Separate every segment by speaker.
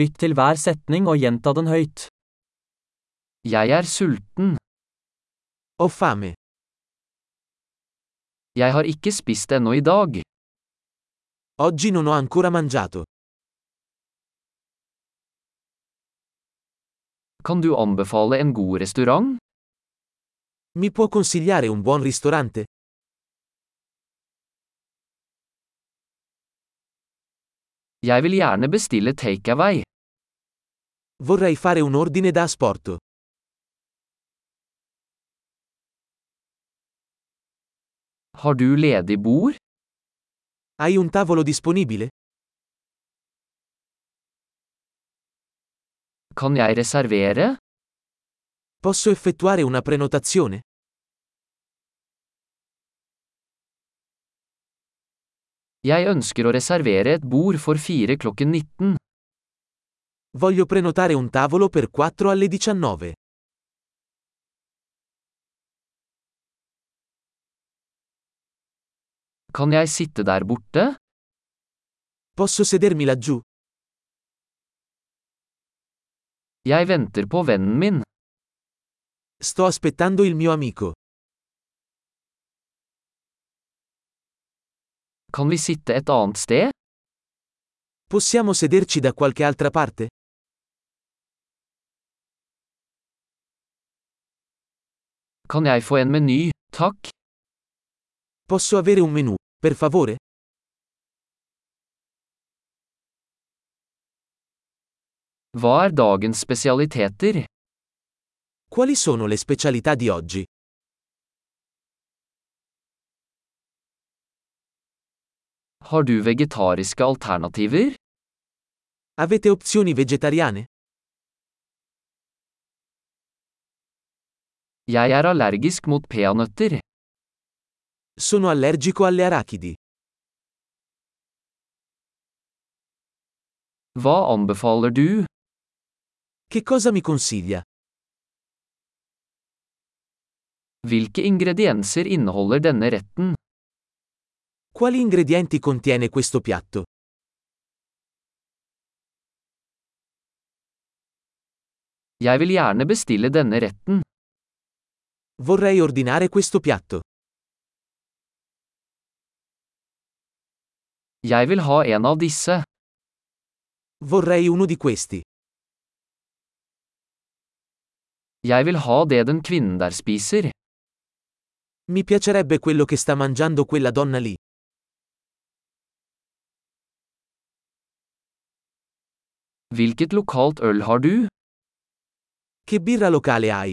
Speaker 1: Lytt til hver setning og gjenta den høyt. Jeg er sulten.
Speaker 2: Ho fame.
Speaker 1: Jeg har ikke spist ennå i dag.
Speaker 2: Oggi non ho ancora mangiato.
Speaker 1: Kan du anbefale en god restaurant?
Speaker 2: Mi può consigliare un buon ristorante?
Speaker 1: Jeg vil gjerne bestille takeaway.
Speaker 2: Vorrei fare un ordine da asporto.
Speaker 1: Har du ledig bord?
Speaker 2: Hai un tavolo disponibile?
Speaker 1: Kan jeg reservere?
Speaker 2: Posso effettuare una prenotazione?
Speaker 1: Jeg ønsker å reservere et bord for fire klokken 19.
Speaker 2: Voglio prenotare un tavolo per 4 alle 19.
Speaker 1: Kan jeg sitte der borte?
Speaker 2: Posso sedermi laggiù?
Speaker 1: Jeg venter på vennen min.
Speaker 2: Sto aspettando il mio amico.
Speaker 1: Kan vi sitte et annet sted?
Speaker 2: Possiamo sederci da qualche altra parte?
Speaker 1: Kan jeg få en meny, takk?
Speaker 2: Posso avere un menù, per favore?
Speaker 1: Hva er dagens spesialiteter?
Speaker 2: Quali sono le specialità di oggi?
Speaker 1: Har du vegetariske alternativer?
Speaker 2: Avete opzioni vegetariane?
Speaker 1: Jeg er allergisk mot peanøtter.
Speaker 2: Sono allergico alle arachidi.
Speaker 1: Hva anbefaler du?
Speaker 2: Che cosa mi consiglia?
Speaker 1: Hvilke ingredienser inneholder denne retten?
Speaker 2: Quali ingredienti contiene questo piatto?
Speaker 1: Jeg vil gjerne bestille denne retten.
Speaker 2: Vorrei ordinare questo piatto.
Speaker 1: Jeg vil ha en av disse.
Speaker 2: Vorrei uno di questi.
Speaker 1: Jeg vil ha det den kvinnen der spiser.
Speaker 2: Mi piacerebbe quello che sta mangiando quella donna lì.
Speaker 1: Hvilket lokalt øl har du?
Speaker 2: Che birra locale hai?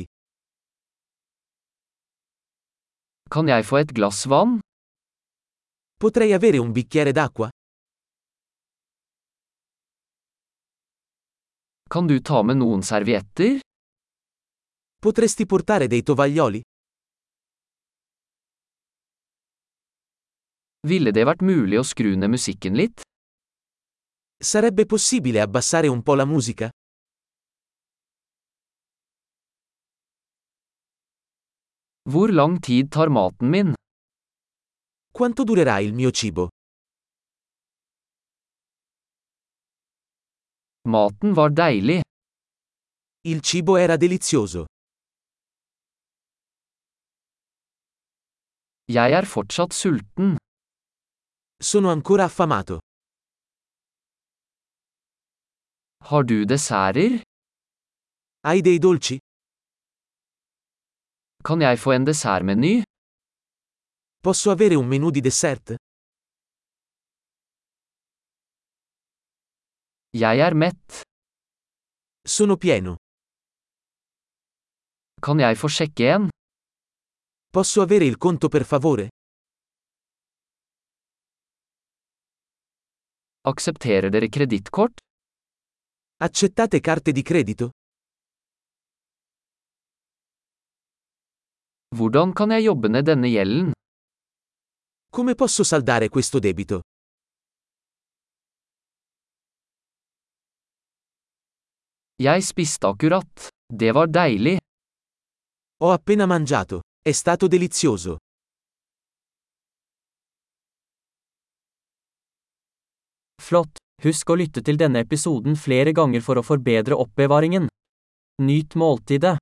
Speaker 1: Kan jeg få et glass vann?
Speaker 2: Potrei avere un bicchiere d'acqua?
Speaker 1: Kan du ta med noen servietter?
Speaker 2: Potresti portare dei tovaglioli?
Speaker 1: Ville det vært mulig å skru ned musikken litt?
Speaker 2: Sarebbe possibile abbassare un po' la musica?
Speaker 1: Hvor lang tid tar maten min?
Speaker 2: Quanto durerà il mio cibo?
Speaker 1: Maten var deilig.
Speaker 2: Il cibo era delizioso.
Speaker 1: Jeg er fortsatt sulten.
Speaker 2: Sono ancora affamato.
Speaker 1: Har du desserter?
Speaker 2: Hai dei dolci?
Speaker 1: Kan jeg få en dessertmeny?
Speaker 2: Posso avere un menù di dessert?
Speaker 1: Jeg er mett.
Speaker 2: Sono pieno.
Speaker 1: Kan jeg få sjekke en?
Speaker 2: Posso avere il conto per favore?
Speaker 1: Aksepterer dere kredittkort?
Speaker 2: Accettate carte di credito?
Speaker 1: Hvordan kan jeg jobbe ned denne gjelden?
Speaker 2: Come posso saldare questo debito?
Speaker 1: Jeg spiste akkurat. Det var deilig.
Speaker 2: Ho appena mangiato. È stato delizioso.
Speaker 1: Flott. Husk å lytte til denne episoden flere ganger for å forbedre oppbevaringen. Nyt måltidet.